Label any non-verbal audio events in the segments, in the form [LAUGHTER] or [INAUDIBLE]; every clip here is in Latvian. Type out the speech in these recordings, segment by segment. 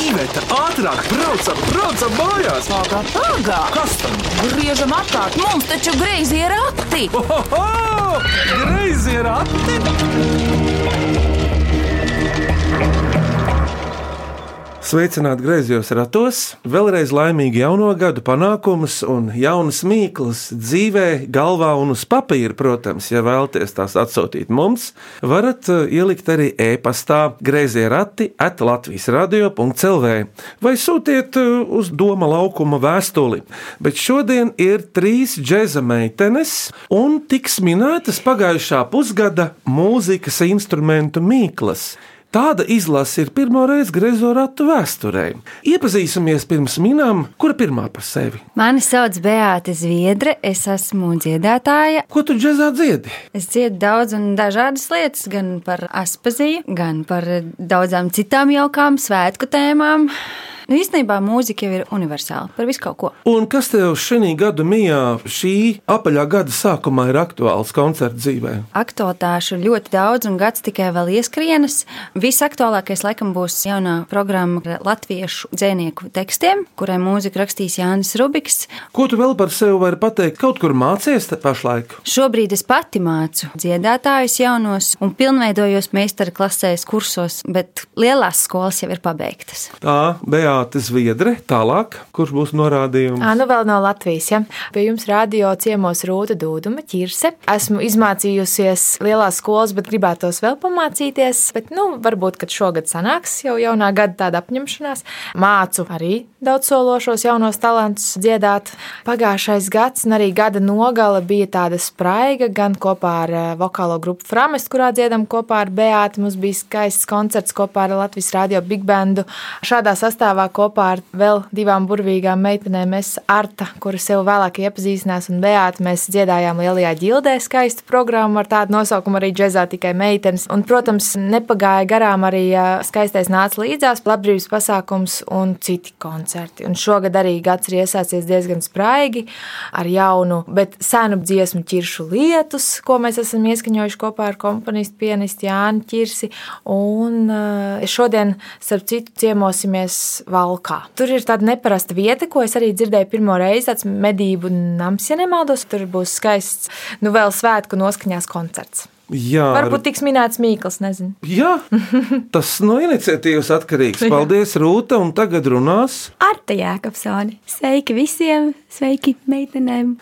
Iveta, ātrāk, braucam, braucam mājās! Pagā, pagā! Kas tam? Griežam apkārt, mums taču greizi ir rati! Oho! Greizi ir ati! Sveicināti griezos ratos, vēlreiz laimīgi jauno gadu panākumus un jaunas mīklas dzīvē, galvā un uz papīra, protams, ja vēlaties tās atsūtīt mums, varat eh, ielikt arī e-pastā griezie rati at Latvijas radio.clv vai sūtiet eh, uz Doma laukuma vēstuli. Bet šodien ir trīs džēza meitenes un tiks minētas pagājušā pusgada mūzikas instrumentu mīklas. Tāda izlase ir pirmo reizi griezo ratu vēsturē. Iepazīsimies pirms minām, kura pirmā par sevi. Mani sauc Beāta Zviedre, es esmu dziedātāja. Ko tu džēzā dziedi? Es dziedu daudz un dažādas lietas, gan par aspaziju, gan par daudzām citām jaukām svētku tēmām. Nu, īstenībā mūzika jau ir universāla par visu kaut ko. Un kas tev šī gada mijā, šī apaļā gada sākumā ir aktuāls koncerts dzīvē? Aktualitāšu ir ļoti daudz, un gads tikai vēl ieskrienas. Visaktuālākais, laikam, būs jaunā programma ar latviešu dzinieku tekstiem, kurai mūziku rakstīs Jānis Rubiks. Ko tu vēl par sevi vari pateikt? Kaut kur mācies te pašlaik? Šobrīd es pati mācu dziedātājus jaunos un pilnveidojos meistarklasēs, kursos, bet lielās skolas jau ir pabeigtas. Tā, Beāta Zviedre, tālāk, kurš būs norādījums? Ā, nu vēl no Latvijas. Ja? Pie jums radio ciemos Rūta Dūduma, Čirse. Esmu izmācījusies lielās skolas, bet gribētos vēl pamācīties. Bet, nu, varbūt, kad šogad sanāks jau jaunā gada tāda apņemšanās. Mācu arī daudzsološos jaunos talantus dziedāt. Pagājušais gads un arī gada nogala bija tāda spraiga, gan kopā ar eh, vokālo grupu Framest, kurā dziedam kopā ar Beātu. Mums bija skaists koncerts kopā ar Latvijas radio Big Bandu. Šādā sastāvā kopā ar vēl divām burvīgām meitenēm, es Arta, kuras sev vēlāk iepazīstinās, un Beāta mēs dziedājām lielajā ģildē skaistu programmu ar tādu nosaukumu arī džezā tikai meitenes. Un, protams, nepagāja garām arī ā, skaistais nāca līdzās labdarības pasākums un citi koncerti. Un šogad arī gads ir iesācies diezgan spraigi ar jaunu, bet senu dziesmu ķiršu lietus, ko mēs esam ieskaņojuši kopā ar komponistu pianistu Jānu Čirsi. Un ā, šodien, starp citu, ciemosimies Valkā. Tur ir tāda neparasta vieta, ko es arī dzirdēju pirmo reizi. Tas medību nams, ja nemaldos, tur būs skaists, nu vēl svētku noskaņās koncerts. Jā, ar- Varbūt tiks minēts Mīkls, nezinu. Jā, tas no iniciatīvas atkarīgs. Paldies, Rūta, un tagad runās. Arta Jākapsoni. Sveiki visiem, sveiki meitenēm.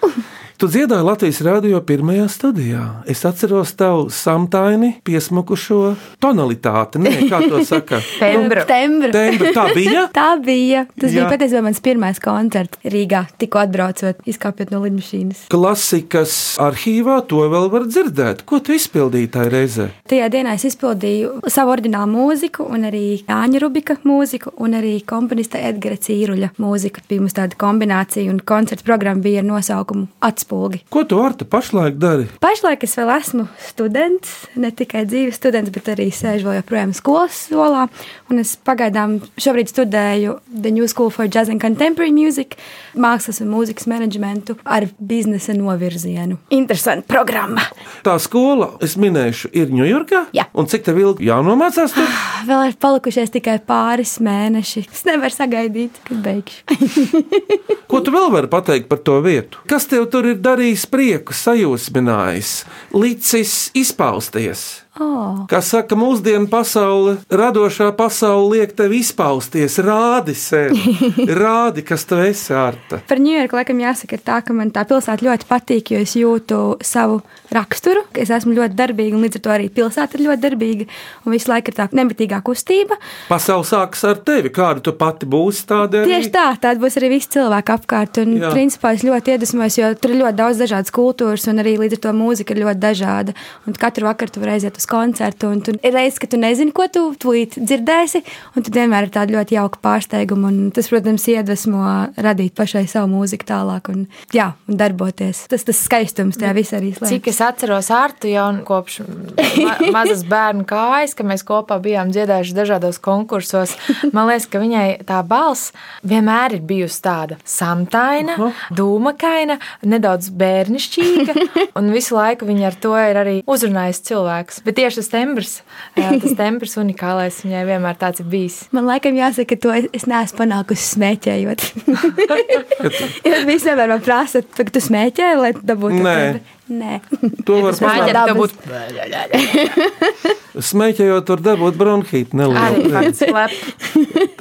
Tu dziedāji Latvijas radio pirmajā studijā. Es atceros tavu samtaini piesmukušo tonalitāti. Nē, kā to saka? [LAUGHS] Pembra. Tembra. Tembra, tā bija? [LAUGHS] Tā bija. Tas Jā. Jā. bija patiesībā mans pirmais koncerts Rīgā, tikko atbraucot, izkāpjot no lidmašīnas. Klasikas arhīvā to vēl var dzirdēt. Ko tu izpildīji tajā reizē? Tajā dienā es izpildīju savu orģinālu mūziku, un arī Jāņa Rubika mūziku, un arī komponista Edgara Cīruļa mūziku. Bija mums tāda kombinācija, un koncerta programma bija ar nosaukumu Atspūgi. Ko tu ar te pašlaik dari? Pašlaik es vēl esmu students, ne tikai dzīves students, bet arī sēžu vēl joprojām skolas solā. Un es pagaidām šobrīd studēju The New School for Jazz and Contemporary Music, mākslas un mūzikas menedžmentu ar biznesa novirzienu. Interesanta programma. Tā skola, es minēšu, ir Ņujorkā. Jā. Un cik tev ilgi jānomācās? Tur? Vēl ir palikušies tikai pāris mēneši. Es nevaru sagaidīt, kad beigšu. Ko tu vēl vari pateikt par to vietu? Kas tev tur ir darījis prieku, sajūsminājis, licis izpausties? Oh. Kā saka, mūsdienu pasaule, radošā pasaule liek tev izpausties, rādi sevi, rādi, kas tu esi ārta. Par Ņujorku laikam jāsaka ir tā, ka man tā pilsēta ļoti patīk, jo es jūtu savu raksturu. ka Es esmu ļoti darbīga, un līdz ar to arī pilsēta ir ļoti darbīga. Un visu laiku ir tā nemitīgā kustība. Pasaule sākas ar tevi, kāda tu pati būsi tāda. arī. Tieši tā, tāda būs arī visi cilvēki apkārt. Un, Jā. principā, es ļoti iedvesmojos, jo tur ir ļoti daudz dažādas kultūras, un arī līdz ar to mūzika ir ļoti dažāda. Un katru vakaru tu vari aiziet uz koncertu, un tur ir reizes, ka tu nezini, ko tu tūlīt dzirdēsi, un tu vienmēr ir tāda ļoti jauka pārsteiguma. Un tas, protams, iedvesmo radīt pašai savu mūziku tālāk un, jā, un darboties. Tas tas skaistums tajā visā arī slēpjas. Cik es atceros Artu jau kopš ma [LAUGHS] mazas bērnu kājas, ka mēs kopā bijām dziedājuši dažādos konkursos. Man liekas, ka viņai tā balss vienmēr ir bijusi tāda samtaina, dūmakaina, [LAUGHS] nedaudz bērnišķīga. Un visu laiku viņa ar to ir arī uzrunājusi cilvēkus. Bet tieši tas tembrs, jā, tas tembrs unikālais viņai vienmēr tāds ir bijis. Man laikam jāsaka, ka to es- es neesmu panākusi smēķējot. Jo Viņi vienmēr man prasa, vai tu smēķē, lai tu dabūtu to Nē. temperatūru. Nē. To var Smēķēt, Dabas. tev būtu Smēķējot, var dabūt bronhītu arī nelielu. tāds slēpts.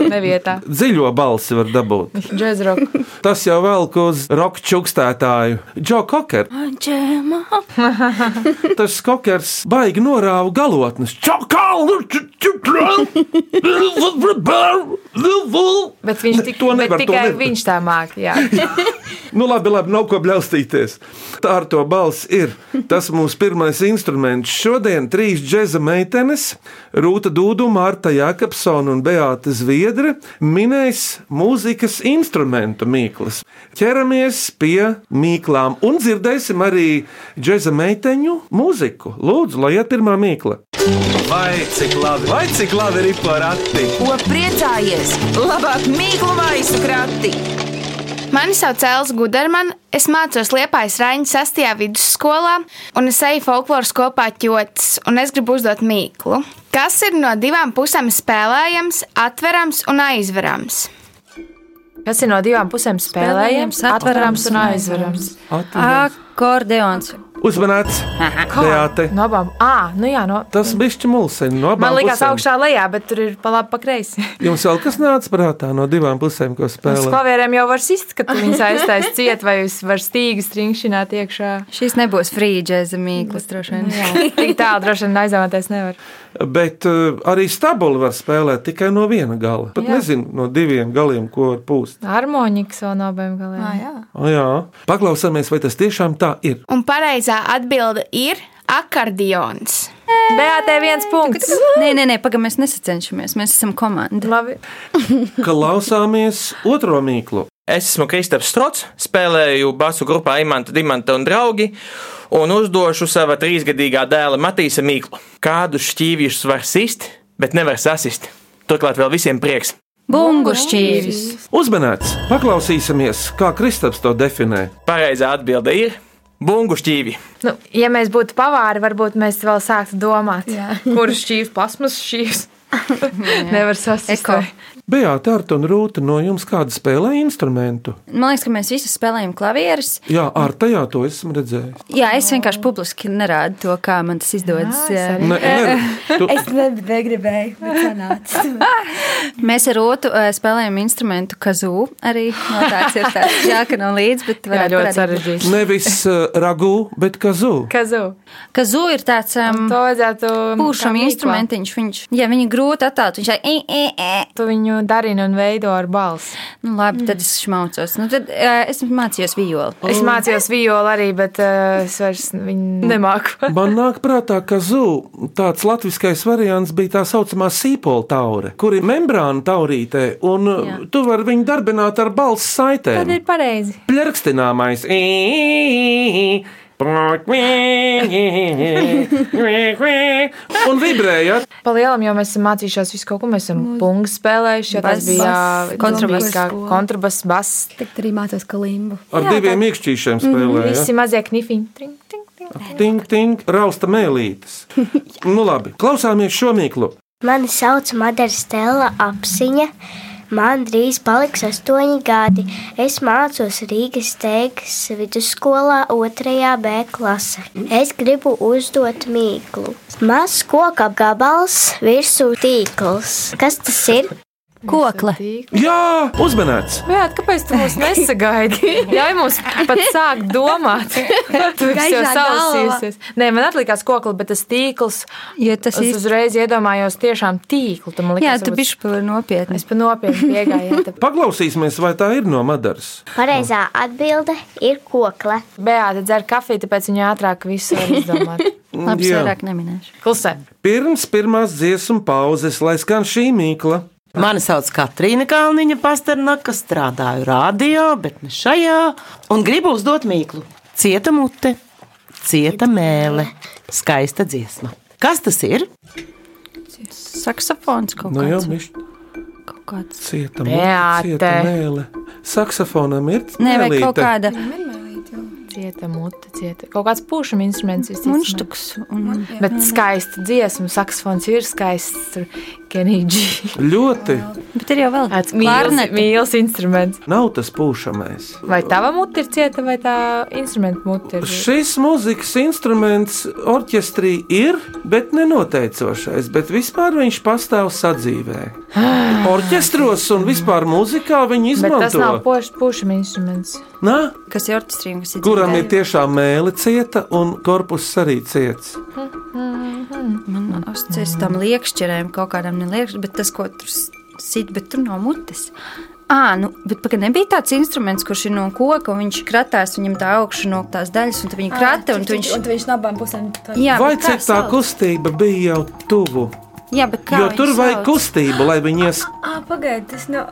[LAUGHS] Nevietā. Dziļo balsi var dabūt. Džezroka. Tas jau velk uz roka čukstētāju. Džo Koker. Džēma. Tas kokers baigi norāva galotnes. Čakālu! Bet viņš tik, to bet nevar. to tikai nevar. viņš tā māk. Jā. Nu, labi, labi, nav ko bļaustīties. Tā ar to balss ir. Tas mūsu pirmais instruments. Šodien trīs džēza meitenes, Rūta Dūdu, Mārta Jākapsona un Beāta Zviedre, minēs mūzikas instrumentu mīklas. Ķeramies pie mīklām un dzirdēsim arī džēza meiteņu mūziku. Lūdzu, lai iet pirmā mīkla. Vai cik labi, vai cik labi ir porakti? Ko priecājies? Labāk mīklu maisu krati. Mani sauc Elsa Gudermann, es mācos Liepājas Raiņas 6. vidusskolā, un es eju folkloras kopā ķotis, un es gribu uzdot mīklu. Kas ir no divām pusēm spēlējams, atverams un aizverams? Kas ir no divām pusēm Spēlējams, spēlējams, atverams un atverams. aizverams. Akordeons. [LAUGHS] Uzmanīts, Beāte. No abām. À, nu jā, no. Tas bija šķimulseņš no abām Man liekas, pusēm. augšā lejā, bet tur ir pa labi, pa kreisi. [LAUGHS] Jums vēl kas nāca prātā no divām pusēm, ko Uz spēlējāt? klavierēm jau var sist, ka tu viņus aiztais ciet vai jūs var stīgu stringšināt iekšā. Šis nebūs frīdžēza mīklas droši vien. Jā, tik tālu droši vien aizdomāties nevar. Bet uh, arī stabuli var spēlēt tikai no viena gala. Pat Jā. nezinu, no diviem galiem, ko var pūst. Harmonikas vēl no abiem galiem. O, jā. Paklausāmies, vai tas tiešām tā ir. Un pareizā atbilde ir akordions. Beatē viens punkts. Nē, nē, nē pagaidām mēs nesacenšamies. Mēs esam komanda. Labi. Klausāmies otro mīklu. Es esmu Kristaps Strots, spēlēju basu grupā Imants, Dimanta un draugi, un uzdošu sava trīsgadīgā dēla Matīsa Mīklu. Kādu šķīvjus var sist, bet nevar sasist. Turklāt vēl visiem prieks. Bungušķīvis. Uzmanīts, paklausīsimies, kā Kristaps to definē. Pareizā atbilde ir bungu šķīvi. Nu, ja mēs būtu pavāri, varbūt mēs vēl sāktu domāt, [LAUGHS] kurš šķīvis plasmas šķīvis. Nevar sasist. Eko. vai? Bijā Tārta un Rūta no jums kāda spēlē instrumentu? Man liekas, ka mēs visi spēlējam klavierus. Jā, ar tajā to esmu redzējis. Jā, es vienkārši publiski nerādu to, kā man tas izdodas. Jā, es Ne, ne, tu, Es ne- negribēju, bet sanāca. Mēs ar Rotu eh, spēlējam instrumentu kazū. Arī no tāds ir tāds [LAUGHS] žāka no līdz, bet Jā, varētu ļoti parādīt. sarežģīti. nevis uh, ragū, bet kazū. Kazu. Kazū ir tāds um, To vajadzētu. kā pūšam mīklā. instrumentiņš. Viņš, jā, viņu grūti attēlot. Viņš ir. E, e, e. Tu viņu darini un veido ar balsi. Nu, labi, tad es šmaucos. Nu, tad uh, es mācījos violi. Es mācījos violi arī, bet uh, es vairs viņu nemāku. Man nāk prātā, ka zū tāds latviskais variants bija tā saucamā sīpola taure, kur ir membrāna taurītē, un Jā. tu vari viņu darbināt ar balss Tad saitēm. ir pareizi. Plerkstināmais. Un vibrēja. Pa lielam jau mēs esam mācījušies visu kaut ko. Mēs esam punktu spēlējuši, jo tas Bass, bija eh, bass, kontrabass. kontrabass, bass. Tik arī mācos kalimbu. Ar Jā, diviem tā... iekšķīšiem spēlēja. Visi mazie knifiņi. Tring, tring, tring. Tink, tink, rausta mēlītes. nu labi, klausāmies šo mīklu. Mani sauc Madara Stela apziņa. Man drīz paliks astoņi gadi. Es mācos Rīgas Teigas vidusskolā, 2. B klasē. Es gribu uzdot mīklu. Mazs koka gabals, virsū tīkls. Kas tas ir? Kokla. Jā, uzmanēts! Jā, kāpēc tu mums nesagaidi? [LAUGHS] Jā, mums pat sāk [LAUGHS] domāt. Tu visi jau Gaisā salasīsies. Nē, man atlikās kokli, bet tas tīkls. Jo tas Es īsti. uzreiz iedomājos tiešām tīklu. Tu man Jā, likās, tu varbūt- bišķi par nopietni. Es pa nopietni piegāju. jā, tā- Paklausīsimies, vai tā ir no Madaras. Pareizā atbilde ir kokle. Beāta dzer kafiju, tāpēc viņa ātrāk visu var [LAUGHS] izdomāt. Labi, Jā. es vairāk neminēšu. Klusē. Pirms pirmās dziesmu pauzes, lai skan šī mīkla. Mani sauc Katrīna Kalniņa, Pasternaka, strādāju radio, bet ne šajā. Un gribu uzdot mīklu. Cieta mute, cieta mēlē, skaista dziesma. Kas tas ir? Saksofons kaut Nu, jau kāds. viņš Kaut kāds. cieta Beate. mūža mēlē. Saksofonam ir Nē, vai mēlīte. kaut kāda. Cieta mute, cieta. Kaut kāds pušam instruments visticamāk. Munštuks un Bet skaista dziesma, saksofons ir skaists. Tur kenīģi. Ļoti bet ir jau vēl Tāds mīls, Klarneti. mīls instruments. nav tas pūšamais. Vai tava mute ir cieta, vai tā instrumenta mute ir? Šis mūzikas instruments orķestrī ir, bet nenoteicošais, bet vispār viņš pastāv sadzīvē. Ah. Orķestros un vispār mūzikā viņi Bet tas nav izmanto. pošs- pušam instruments. Nā, kas ir orķestrīm, kas ir kuram ir dzirdēju. tiešām mēlī cieta un korpus arī ciets. Man asociēs nu, tam liekšķerēm, kaut kādam neliekšķerēm, bet tas, ko tur s- sit, bet tur nav mutes. Ā, nu, bet pagaid, nebija tāds instruments, kurš ir no koka, un viņš kratās, viņam tā augšu no tās daļas, un tad viņi krata, un tu Un viņš... tu viņš no abām pusēm tā Jā, Vai bet kā cik tā sauc? kustība bija jau tuvu? Jā, bet kā Jo tur viņu vajag sauc? kustību, lai viņi ies. Ah, pagaidi, tas nav.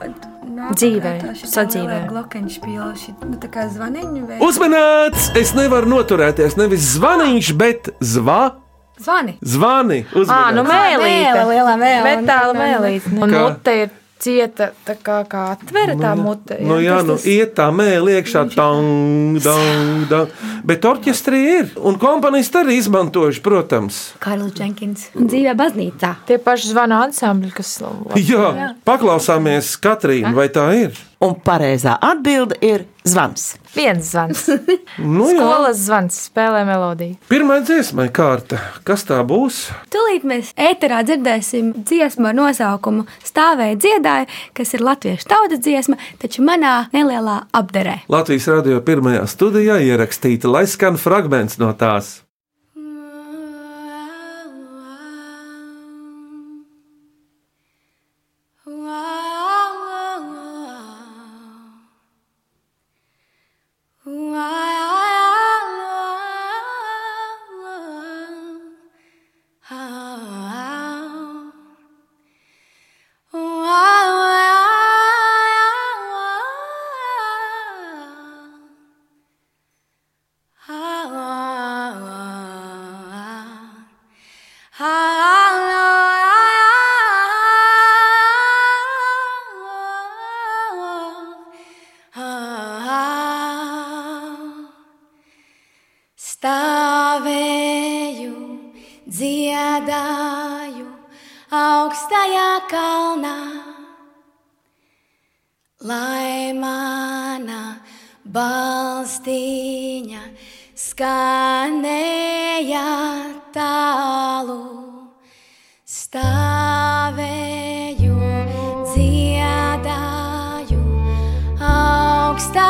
nav Dzīvē, sadzīvē. Glokāņš bija nu, tā kā zvaniņš. Vai... Uzmanīts! Es nevaru noturēties. Nevis zvaniņš, bet zva, Zvani! zvani. Ā, nu Uzmanīts! mēlīte. Mēle, lielā mēle. Metāla Un- mēlīte. Un Kā? mute ir cieta, tā kā, kā atvere tā mute. Nu, jā, Tas nu, tas- iet tā mēlī iekšā, tang, tang, tang. Bet orķestrī ir, un komponisti arī izmantojuši, protams. Karls Jenkins. Dzīvē baznīcā. Tie paši zvana ansambļi, kas. nu, Jā, paklausāmies Katrīna, vai tā ir? Un pareizā atbilde ir zvans. Viens zvans. [LAUGHS] Nu, jā, Skolas zvans spēlē melodiju. pirmā dziesmai kārta. Kas tā būs? Tūlīt mēs ēterā dzirdēsim dziesmu ar nosaukumu Stāvēja dziedāja, kas ir latviešu tautas dziesma, taču manā nelielā apderē. Latvijas radio pirmajā studijā ierakstīta, lai skan fragments no tās. Stāvēju, dziedāju augstajā kalnā, lai mana balstīņa skanēja tālu. Stāvēju, dziedāju augstajā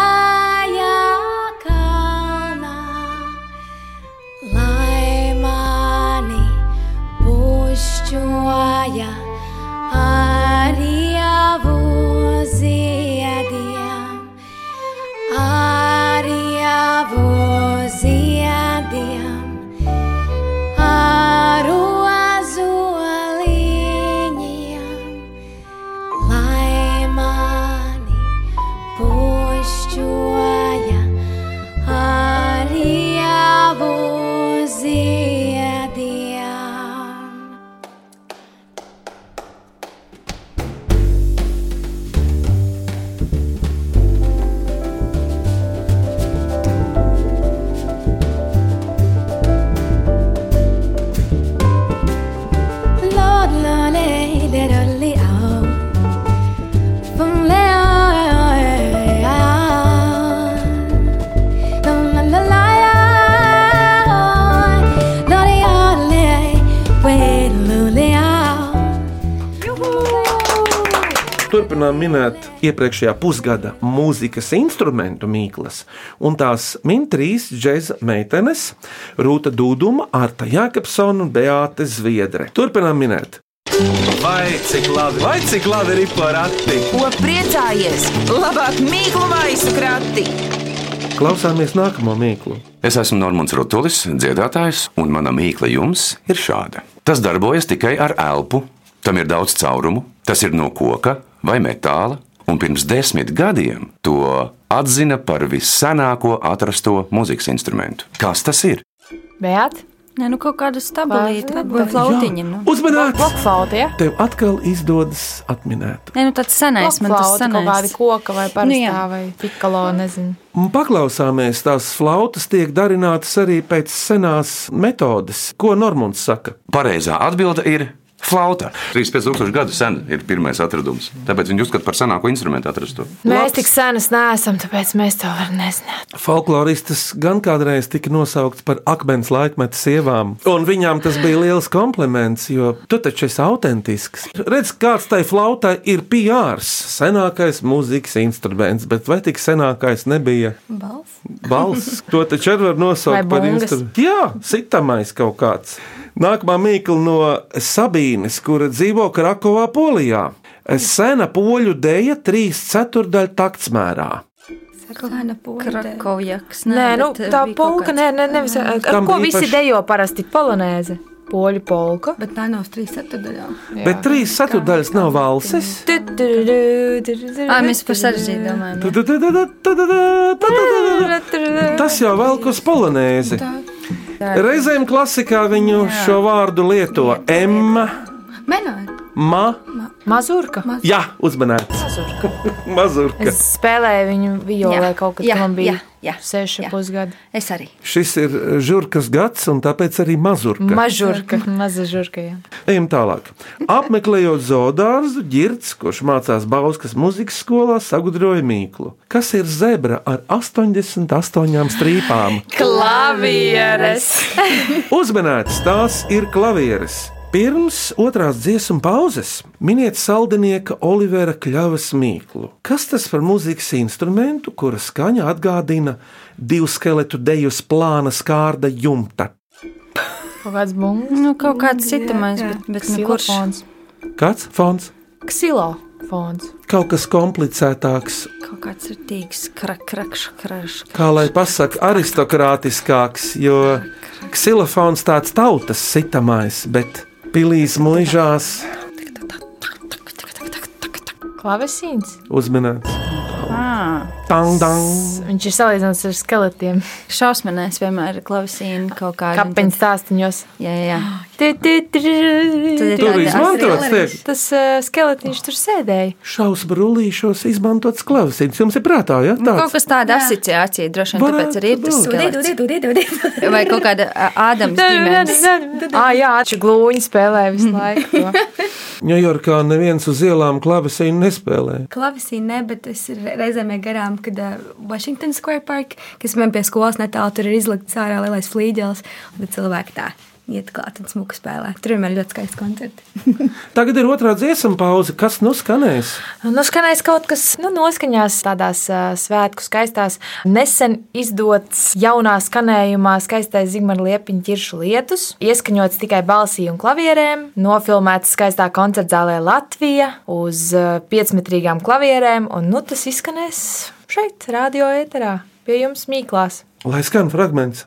kalnā, lai mani pušķoja arī ziediem, arī ziediem. Ar ozoliņiem, lai mani pušķoja ar javu ziediem. Lord, lolly, lolly, oh. From Leon, la la la la, lolly, lolly, wait, lolly, oh. Turpinām minēt iepriekšējā pusgada mūzikas instrumentu mīklas, un tās min trīs džēza meitenes - Rūta Dūduma, Arta Jākapsona un Beāte Zviedre. Turpinām minēt. Vai cik labi, vai cik labi ir porati? Ko priecājies? Labāk mīklu maisu krati! Klausāmies nākamo mīklu. Es esmu Normons Rutulis, dziedātājs, un mana mīkla jums ir šāda. Tas darbojas tikai ar elpu, tam ir daudz caurumu, tas ir no koka vai metāla, un pirms desmit gadiem to atzina par vissenāko atrasto mūzikas instrumentu. Kas tas ir? Bet Nē, nu kaut kāda stabilitāte Vai- vai flautiņa. Jā. Nu. Uzmanīts! Blokflauta, ja? Tev atkal izdodas atminēt. Nē, nu tāds senais man tas Blokflauta, kaut kāda senais. koka vai Nu, jā. parastā vai pikalo, nezinu. Un Paklausāmies, tās flautas tiek darinātas arī pēc senās metodes, ko Normons saka. Pareizā atbilde ir flauta. 3500 gadu sen ir pirmais atradums. Tāpēc viņi uzskata par senāko instrumentu atrastu. Mēs tik senas neesam, tāpēc mēs to varam nezināt. Folkloristas gan kādreiz tika nosaukts par akmens laikmetu sievām, un viņām tas bija liels kompliments, jo tu taču esi autentisks. Redz, kāds tai flautai ir PRs, senākais mūzikas instruments, bet vai tik senākais nebija Balss. Balss, to taču arī var Vai nosaukt par bungas? instrumentu. Jā, sitamais kaut kāds. Nākamā mīkla no Sabīnes, kura dzīvo Krakovā, Polijā. Sena poļu dēja trīs ceturdaļu taktsmērā. Krakovjaks. Nē, nu bet, eh, tā bija kaut polka, kāds- Mm. nē, nē, nevis. Ar Tam ko bija visi īpaši- dejo parasti? Polonēze, poļu polka. Bet tā nav uz trīs ceturdaļām. Bet trīs ceturdaļas nav valses. Ā, mēs par sarežģītu domājam. Tu, tu, tu, tu, tu, tu, tu, tu, tu, tu, tu. Tas jau velk uz polonēzi. Reizēm klasikā viņu šo vārdu lieto Emma, Menāri. Ma. Mazurka. Jā, uzmanīts. [LAUGHS] Mazurka. Es spēlēju viņu violē kaut kad, Jā, kad man bija jā, jā, seši jā. pusgadi. Es arī. Šis ir žurkas gads, un tāpēc arī mazurka. Mažurka, maza žurka. jā. Ejam tālāk. Apmeklējot zoodārzu, ģirts, kurš mācās Bauskas muzikas skolā, sagudroja mīklu. Kas ir zebra ar 88 strīpām? [LAUGHS] Klavieres! Uzmanīts, tās ir klavieres. Pirms otrās dziesmu pauzes miniet saldinieka Olivera Kļavas mīklu. Kas tas par mūzikas instrumentu, kura skaņa atgādina divu skeletu deju plāna skārda jumta? Kaut kāds bungas. Nu, kaut kāds citamais, bet, bet nu, kurš? Ksilofons. Kāds fons? Ksilofons. Kaut kas komplicētāks, Kaut kāds ir tīks, krak, krakš, krakš. kā lai pasakā, aristokrātiskāks, jo ksilofons tāds tautas sitamais, bet pilīs mūžās Klavesīns. uzminēts. Ā, Tang, tang. Viņš ir salīdzināms ar skeletiem. Šausminēs vienmēr ir klavesīna kaut kāda. un Kapeņu stāstīņos. tad- Jā, jā, jā. Tur Tur izmantots tiek Tas uh, skeletiņš tur sēdēja. šausmu rullīšos izmantots klavesīns. Jums ir prātā, ja Nu, Kaut tāds? kas tāda asociācija droši vien tāpēc Varētu arī ir tas būt. skelets. Didu, didu, didu. [LAUGHS] Vai kaut kāda ā, Ādams ģimenes. Ah, jā, taču glūņi spēlēja visu laiku. to. Ņujorkā neviens uz ielām klavesīnu nespēlē. Klavesī ne, bet es re- reizēm gāju garām, kad uh, Washington Square Park, kas man pie skolas netālu, tur ir izlikts ārā lielais flīģels, un tad cilvēki tā iet klāt un smuku spēlē. Tur vienmēr ļoti skaisti koncerti. Tagad ir otrā dziesmu pauze, kas nu skanēs. Nu, skanēs kaut kas nu, noskaņās, tādās uh, svētku skaistās. Nesen izdots jaunā skanējumā skaistais Zigmara Liepiņa ķiršu lietus, ieskaņots tikai balsī un klavierēm, nofilmēts skaistā koncerta zālē Latvija uz uh, piecmetrīgām klavierēm, un nu, tas izskanēs šeit, radio ēterā, pie jums mīklās. Lai skan fragments.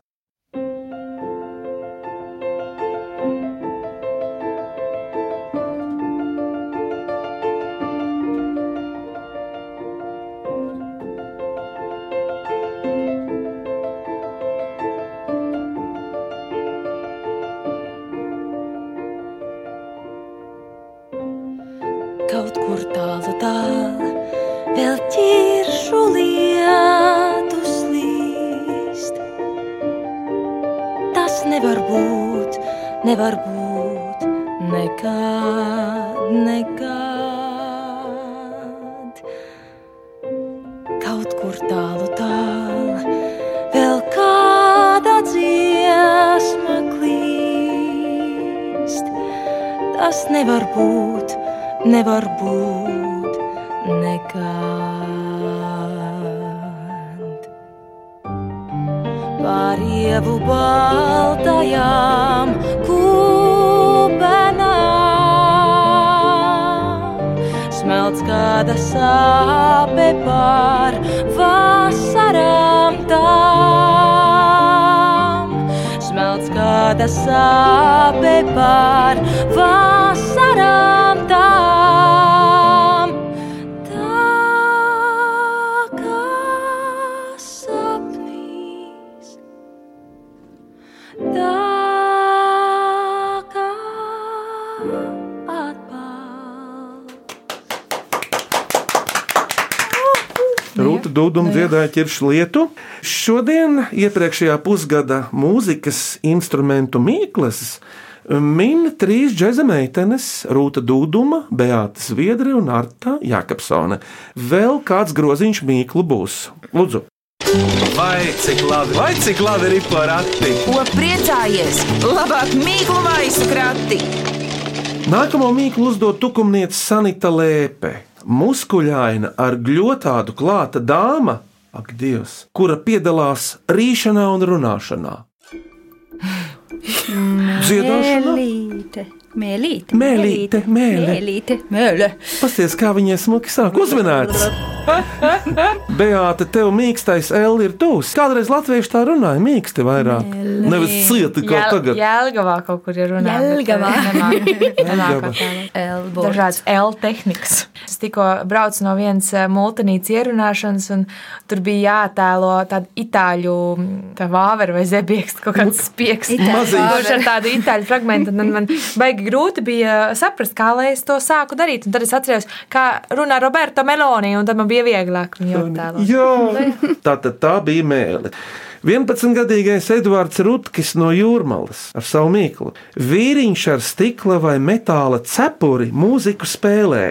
Kaut kur tālu, tālu vēl ķiršu lietus līst. Tas nevar būt, nevar būt nekad, nekad. Kaut kur tālu, tālu vēl kāda dziesma klīst. Tas nevar būt, nevar būt nekad. Pār ievu baltajām kūpenām smelts kāda sāpe pār vasarām tām. Smelts kāda sāpe pār vasarām tām. Tā kā sapnīs, tā Rūta Dūduma dziedāja ķiršu lietu. Šodien iepriekšējā pusgada mūzikas instrumentu mīklas min trīs džēza meitenes - Rūta Dūduma, Beāta Zviedri un Arta Jākapsone. Vēl kāds groziņš mīklu būs. Lūdzu! Vai cik labi, vai cik labi ir porakti? Ko priecājies? Labāk mīklu maisu krati! Nākamo mīklu uzdod tukumniece Sanita Lēpe. Muskuļaina ar gļotādu klāta dāma, ak, Dievs, kura piedalās rīšanā un runāšanā. Dziedāšana? Mēlīte. Mēlīte. Mēlīte, mēle. Mēlīte. Mēlīte. Pasties, kā viņai smuki sāk [LAUGHS] uzminēts. Beāta, tev mīkstais L ir tūs. Kādreiz latvieši tā runāja, mīksti vairāk. Nevis cieti kā tagad. Jēlgavā kaut kur ir runa. [LAUGHS] Jelgavā. Jelgava. Dažādas L tehnikas. Es tikko braucu no vienas eh, multinīcas ierunāšanas, un tur bija jāatēlo tādu itāļu mm, tā vāveru vai zebiekstu, kaut kāds spieks. Itāļu Mazīts. Kurš ar tādu itāļu fragmentu, un man baigi grūti bija saprast, kā lai es to sāku darīt. Un tad es atceros, kā runā Roberto Meloni, un tad man bija vieglāk viņu attēlot. Jā, tā, tā, tā bija mēlīte. 11-gadīgais Edvards Rutkis no Jūrmālas ar savu mīklu. Vīriņš ar stikla vai metāla cepuri mūziku spēlē.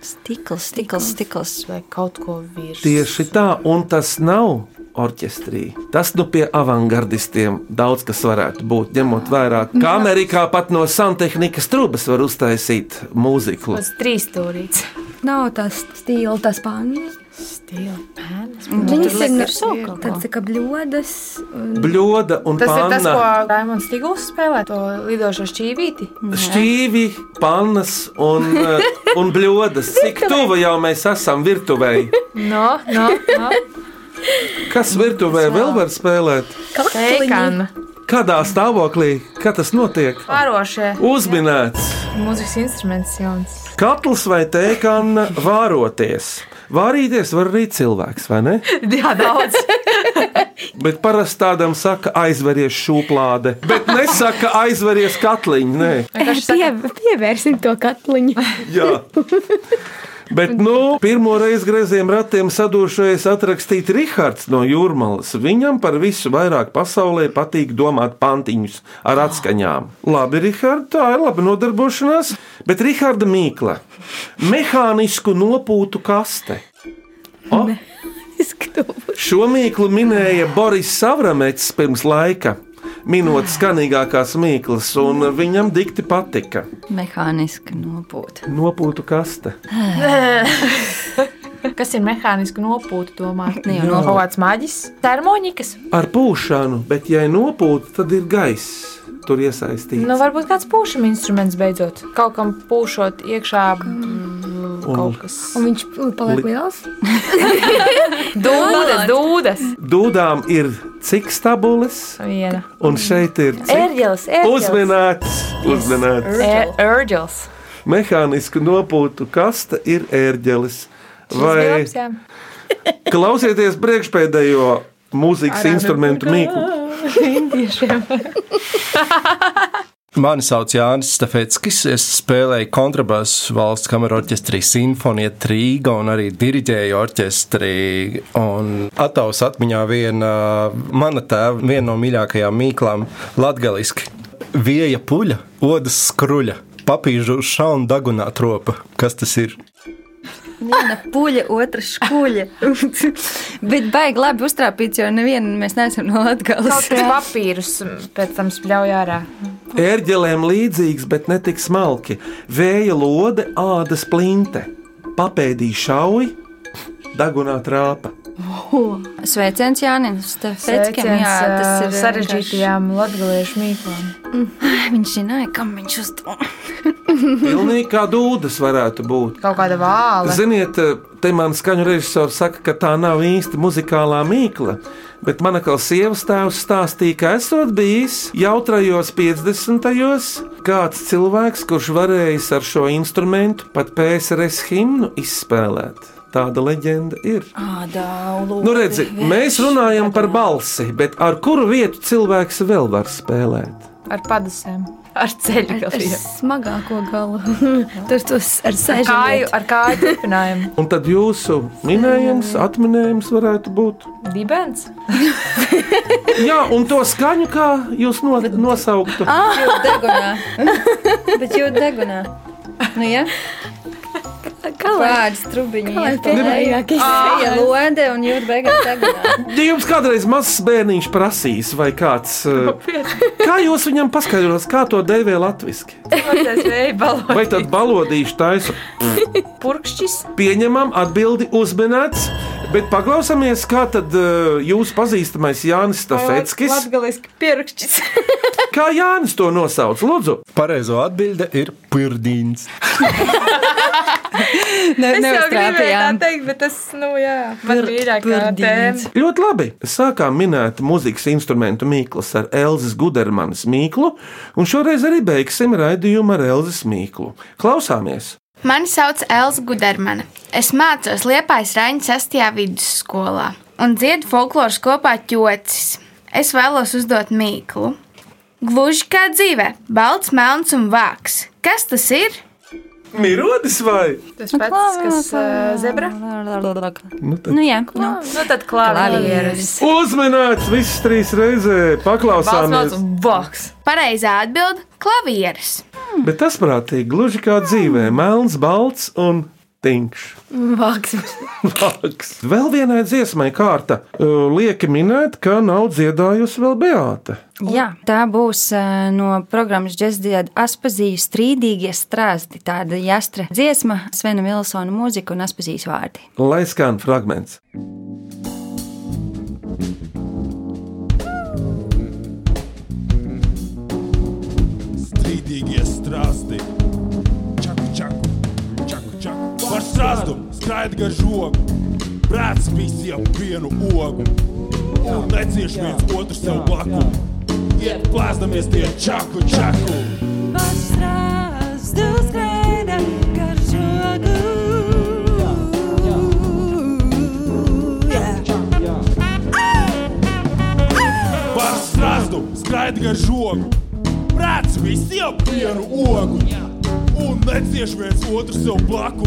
Stikls, stikls, stikls. Vai kaut ko virs. Tieši tā, un tas nav orķestrī. Tas nu pie avangardistiem daudz kas varētu būt, ņemot vērā, ka Amerikā pat no santehnikas trūkas var uztaisīt mūziku. Tas trīs stūrīts. Nav tas stils, tas pāns. Stila pēdas. Viņas ir ir saukamā. tādas kā bļodas. un- Bļoda un Tas ir tas, panna, ko Raimons Stigls spēlē, to lidošo šķīvīti. šķīvi, pannas un, eh, un bļodas. Cik tuvu jau mēs esam virtuvei? No, no, no. Kas virtuvē vēl var spēlēt? Teikana. Kādā stāvoklī, kad tas notiek? Pārošie. Uzminēts, Mūzikas instruments jauns. katls vai tēkana vāroties. Vārīties var arī cilvēks, vai ne? Jā, daudz. [LAUGHS] Bet parasti tādam saka, aizveries šūplāde. Bet nesaka, aizveries katliņu. Nē, Pie, pievērsim to katliņu. [LAUGHS] jā. Bet, nu, pirmo reizi grieziem ratiem sadūršies atrakstīt Rahards no Jūrmālas. Viņam par visu vairāk pasaulē patīk domāt pantiņus ar atskaņām. Labi, Rahard, tā ir laba nodarbošanās, bet Raharda mīkla - mehānisku nopūtu kaste. Šo mīklu minēja Boris Savramets pirms laika, minot skanīgākās mīklas, un viņam dikti patika. Mehāniski nopūt. Nopūtu kaste. Kas ir mehāniski nopūta, domāt? Ne jau Kaut kāds maģis. Termonikas. Ar pūšanu, bet ja ir nopūta, tad ir gaiss. Tur iesaistīts Nu, varbūt kāds pūšam instruments beidzot. Kaut kam pūšot iekšā mm, kaut kas. Un viņš paliek Li- liels. Dūdas, dūdas. dūdām ir cik stabules, Viena. un šeit ir cik Erģels, erģels. uzmanēts. uzmanēts. E- Erģels. Mehānisku nopūtu kaste ir ērģelis. Vai Zvilps, jā. klausieties priekšpēdējo mūzikas nu, instrumentu mīklu? Mani sauc Jānis Stefetskis. Es spēlēju kontrabasu valsts kameru orķestrī Sinfonija Trīga un arī diriģēju orķestrī. Un attaus atmiņā viena mana tēva, viena no mīļākajām mīklām - latgaliski. Vieja puļa, odas skruļa, papīžu šauna dagunā tropa. Kas tas ir? Viena puļa, otra skuļa. Bet baigi labi uztrāpīts, jo nevienu mēs neesam no Kaut Latgales. kāds papīrus pēc tam spļauj ārā. Erģelēm līdzīgs, bet ne tik smalki. Vēja lode, ādas plinte, papēdīja šauji, dagunā trāpa. Sveiciens Jānis. Sveiciens, jā, tas ir sarežģītajām latgaliešu mīklām. vienkārši- Viņš zināja, kam viņš uzdev. Pilnīgi kā dūdas varētu būt. Kaut kāda vāla. Ziniet, te man skaņu režisors saka, ka tā nav īsti muzikālā mīkla. Bet manā kā sievas tēvs stāstīja, ka esot bijis jautrajos 50. gados, kāds cilvēks, kurš varējis ar šo instrumentu pat PSRS himnu izspēlēt. Tāda leģenda ir. Nu, redzi, mēs runājam par balsi, bet ar kuru vietu cilvēks vēl var spēlēt? ar padusēm, ar ceļu Ar galviem. smagāko galu. Tur tas ar Ar sēžamietu. kāju, ar kāju turpinājumu. Un tad jūsu minējums, atminējums varētu būt. Dibens. Jā, un to skaņu, kā jūs no, nosauktu. Jūtas degunā. Bet jūtas degunā. Nu, ja? Kā vārds trubiņš? kā lai pēdējāk izsējas? Jā, lode un jūtas beigās degunā. Ja jums kādreiz mazs bērniņš prasīs, vai kāds. eh, Kā jūs viņam paskaidros, kā to dēvē latviešu? Tas vēja balons. Vai tad balodīšu taisu? Purkšķis. Pieņemam, atbildi uzminēts, bet paklausāmies, kā tad eh, jūsu pazīstamais Jānis Stafetskis. Latgaliski pierakšķis. Kā Jānis to nosauc? Lūdzu, Pareizo atbilde ir pirdīns. Ne, es jau gribēju tā neuztrāpījām. teikt, bet tas, nu jā, man ir īrākā tēma. Ļoti labi. Sākām minēt muzikas instrumentu mīklas ar Elzas Gudermanas mīklu, un šoreiz arī beigsim raidījumu ar Elzas mīklu. Klausāmies! Mani sauc Elza Gudermana. Es mācos Liepājas Raņa 6. vidusskolā un dziedu folkloras kopā ķocis. Es vēlos uzdot mīklu. Gluži kā dzīvē, balts, melns un vāks. Kas tas ir? Mirodis vai? Tas pats, kas uh, zebra. Nu, tad... Nu, jā, Nu, nu tad klavieris. Uzmanīts visas trīs reizes, Balts, melns paklausāmies. un vāks. Pareizā atbild - klavieris. Bet tas prātīgi, gluži kā dzīvē, melns, balts un tinkšs. Vāks. Vāks. Vēl vienai dziesmai kārta. Uh, Lieki minēt, ka nav dziedājusi vēl Beāta. Jā, tā būs eh, no programmas Džeksdienas Aspazijas strīdīgie strāsti. Tāda jastra dziesma, Svena Vilsona mūzika un Aspazijas vārdi. Lai skan fragments. Strīdīgie strasti, čaku, čaku, čaku, čaku. Par strāstu skraid gar žogu, brāts visiem vienu ogu. Un necieš viens otru sev blaku. Iet plēsdamies tie čaku, čaku. Par strāstu skraid gar žogu, brāts visiem vienu ogu. Un necieš viens otru sev blaku.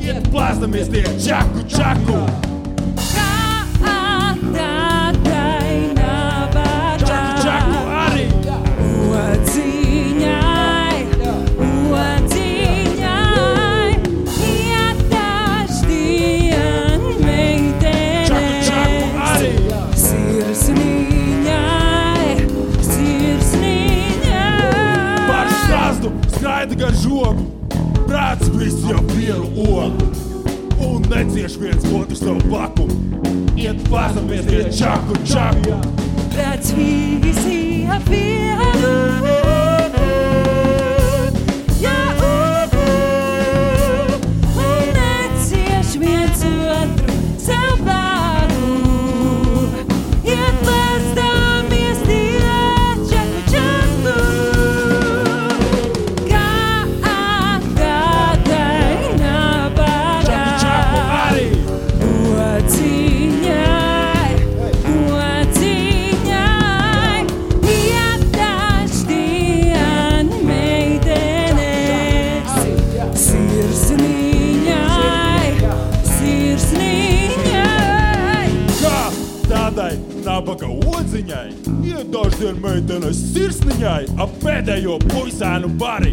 Iet plēsdamies tie čaku, čaku. Čaku, čaku arī. Čaku, čaku arī. Par strāstu skraida gar žogu, brāts visiem vienu ogu. Un necieš viens otru savu blaku. Iet pārstāvēs tie čaku, čaku. Čaku, čaku arī. Kā tādai nabaga odziņai, iet daždien meitenes sirsniņai, ap pēdējo puisēnu bari.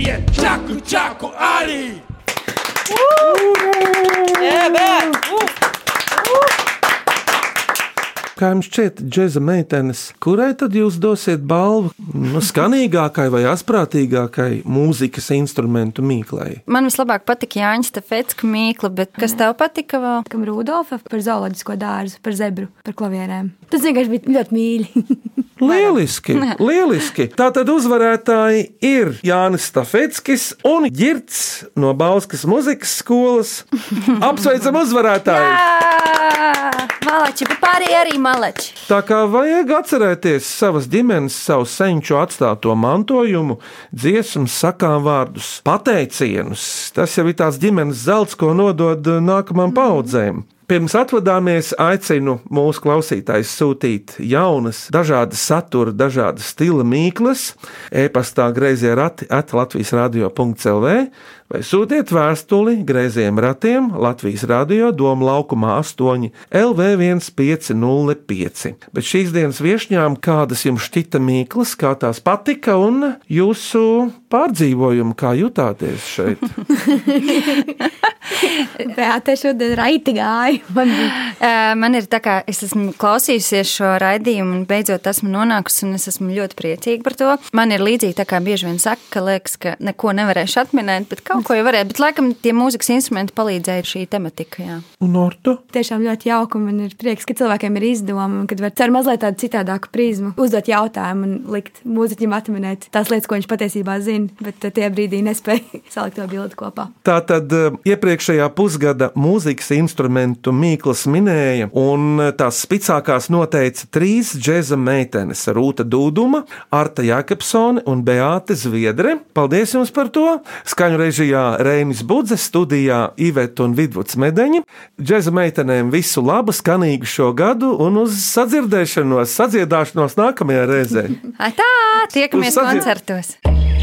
Iet čaku, čaku arī! Kā jums šķiet, džēza meitenes, kurai tad jūs dosiet balvu? Nu, skanīgākai vai asprātīgākai mūzikas instrumentu mīklai? Man vislabāk patika Jānis Stefetska mīkla, bet kas tev patika vēl? Kam Rudolfa par zooloģisko dārzu, par zebru, par klavierēm. Tas vienkārši bija ļoti mīļi. [LAUGHS] Lieliski! Nē. lieliski. Tātad uzvarētāji ir Jānis Stafetskis un Girts no Bauskas muzikas skolas. Apsveicam uzvarētāju! Malači, bet pārējie arī malači. Tā kā vajag atcerēties savas ģimenes, savu senču atstāto mantojumu, dziesmas, sakām vārdus, pateicienus. Tas jau ir tās ģimenes zelts, ko nodod eh, nākamajām paudzēm. Pirms atvadāmies, aicinu mūsu klausītājus sūtīt jaunas, dažādas satura, dažādas stila mīklas, e-pastā grazījā rati atlatvijas radio.cl. Vai sūtiet vēstuli grazījiem ratiem Latvijas radio Doma laukumā 8 LV1505. Bet šīs dienas viesņām kādas jums šķita mīklas, kā tās patika un jūsu pārdzīvojumi, kā jutāties šeit? Beata šodien raiti gāja. Man bija Ē, Eh, Man ir tā, ka es esmu klausījusies šo raidījumu, un beidzot esmu nonākusi, un es esmu ļoti priecīga par to. Man ir līdzīgi, tā kā bieži vien saka, ka liekas, ka neko nevarēšu atminēt, bet kaut ko jau varēju. Bet, laikam, tie mūzikas instrumenti palīdzēja šī tematika. Jā. Un Ortu? tiešām ļoti jauka. un Man ir prieks, ka cilvēkiem ir izdevumi, un kad var ar mazliet tādu citādāku prizmu uzdot jautājumu un likt mūziķim atminēt tās lietas, ko viņš patiesībā zina, bet eh, tajā brīdī nespēja [LAUGHS] salikt to bildi kopā. Tātad eh, iepriekšējā pusgada mūzikas instrumentu Mīkls minēja, un eh, tās spēcīgākās noteica trīs džēza meitenes - Rūta Dūduma, Arta Jākepsone un Beāte Zviedre. Paldies jums par to! Skaņu režijā Rēnis Budze, studijā Iveta un Vidvuds Medeņi. Džēza meitenēm visu labu, skanīgu šo gadu un uz sadzirdēšanos, sadziedāšanos nākamajā reizē! Ai, Tā, tiekamies Uz sadzi- koncertos!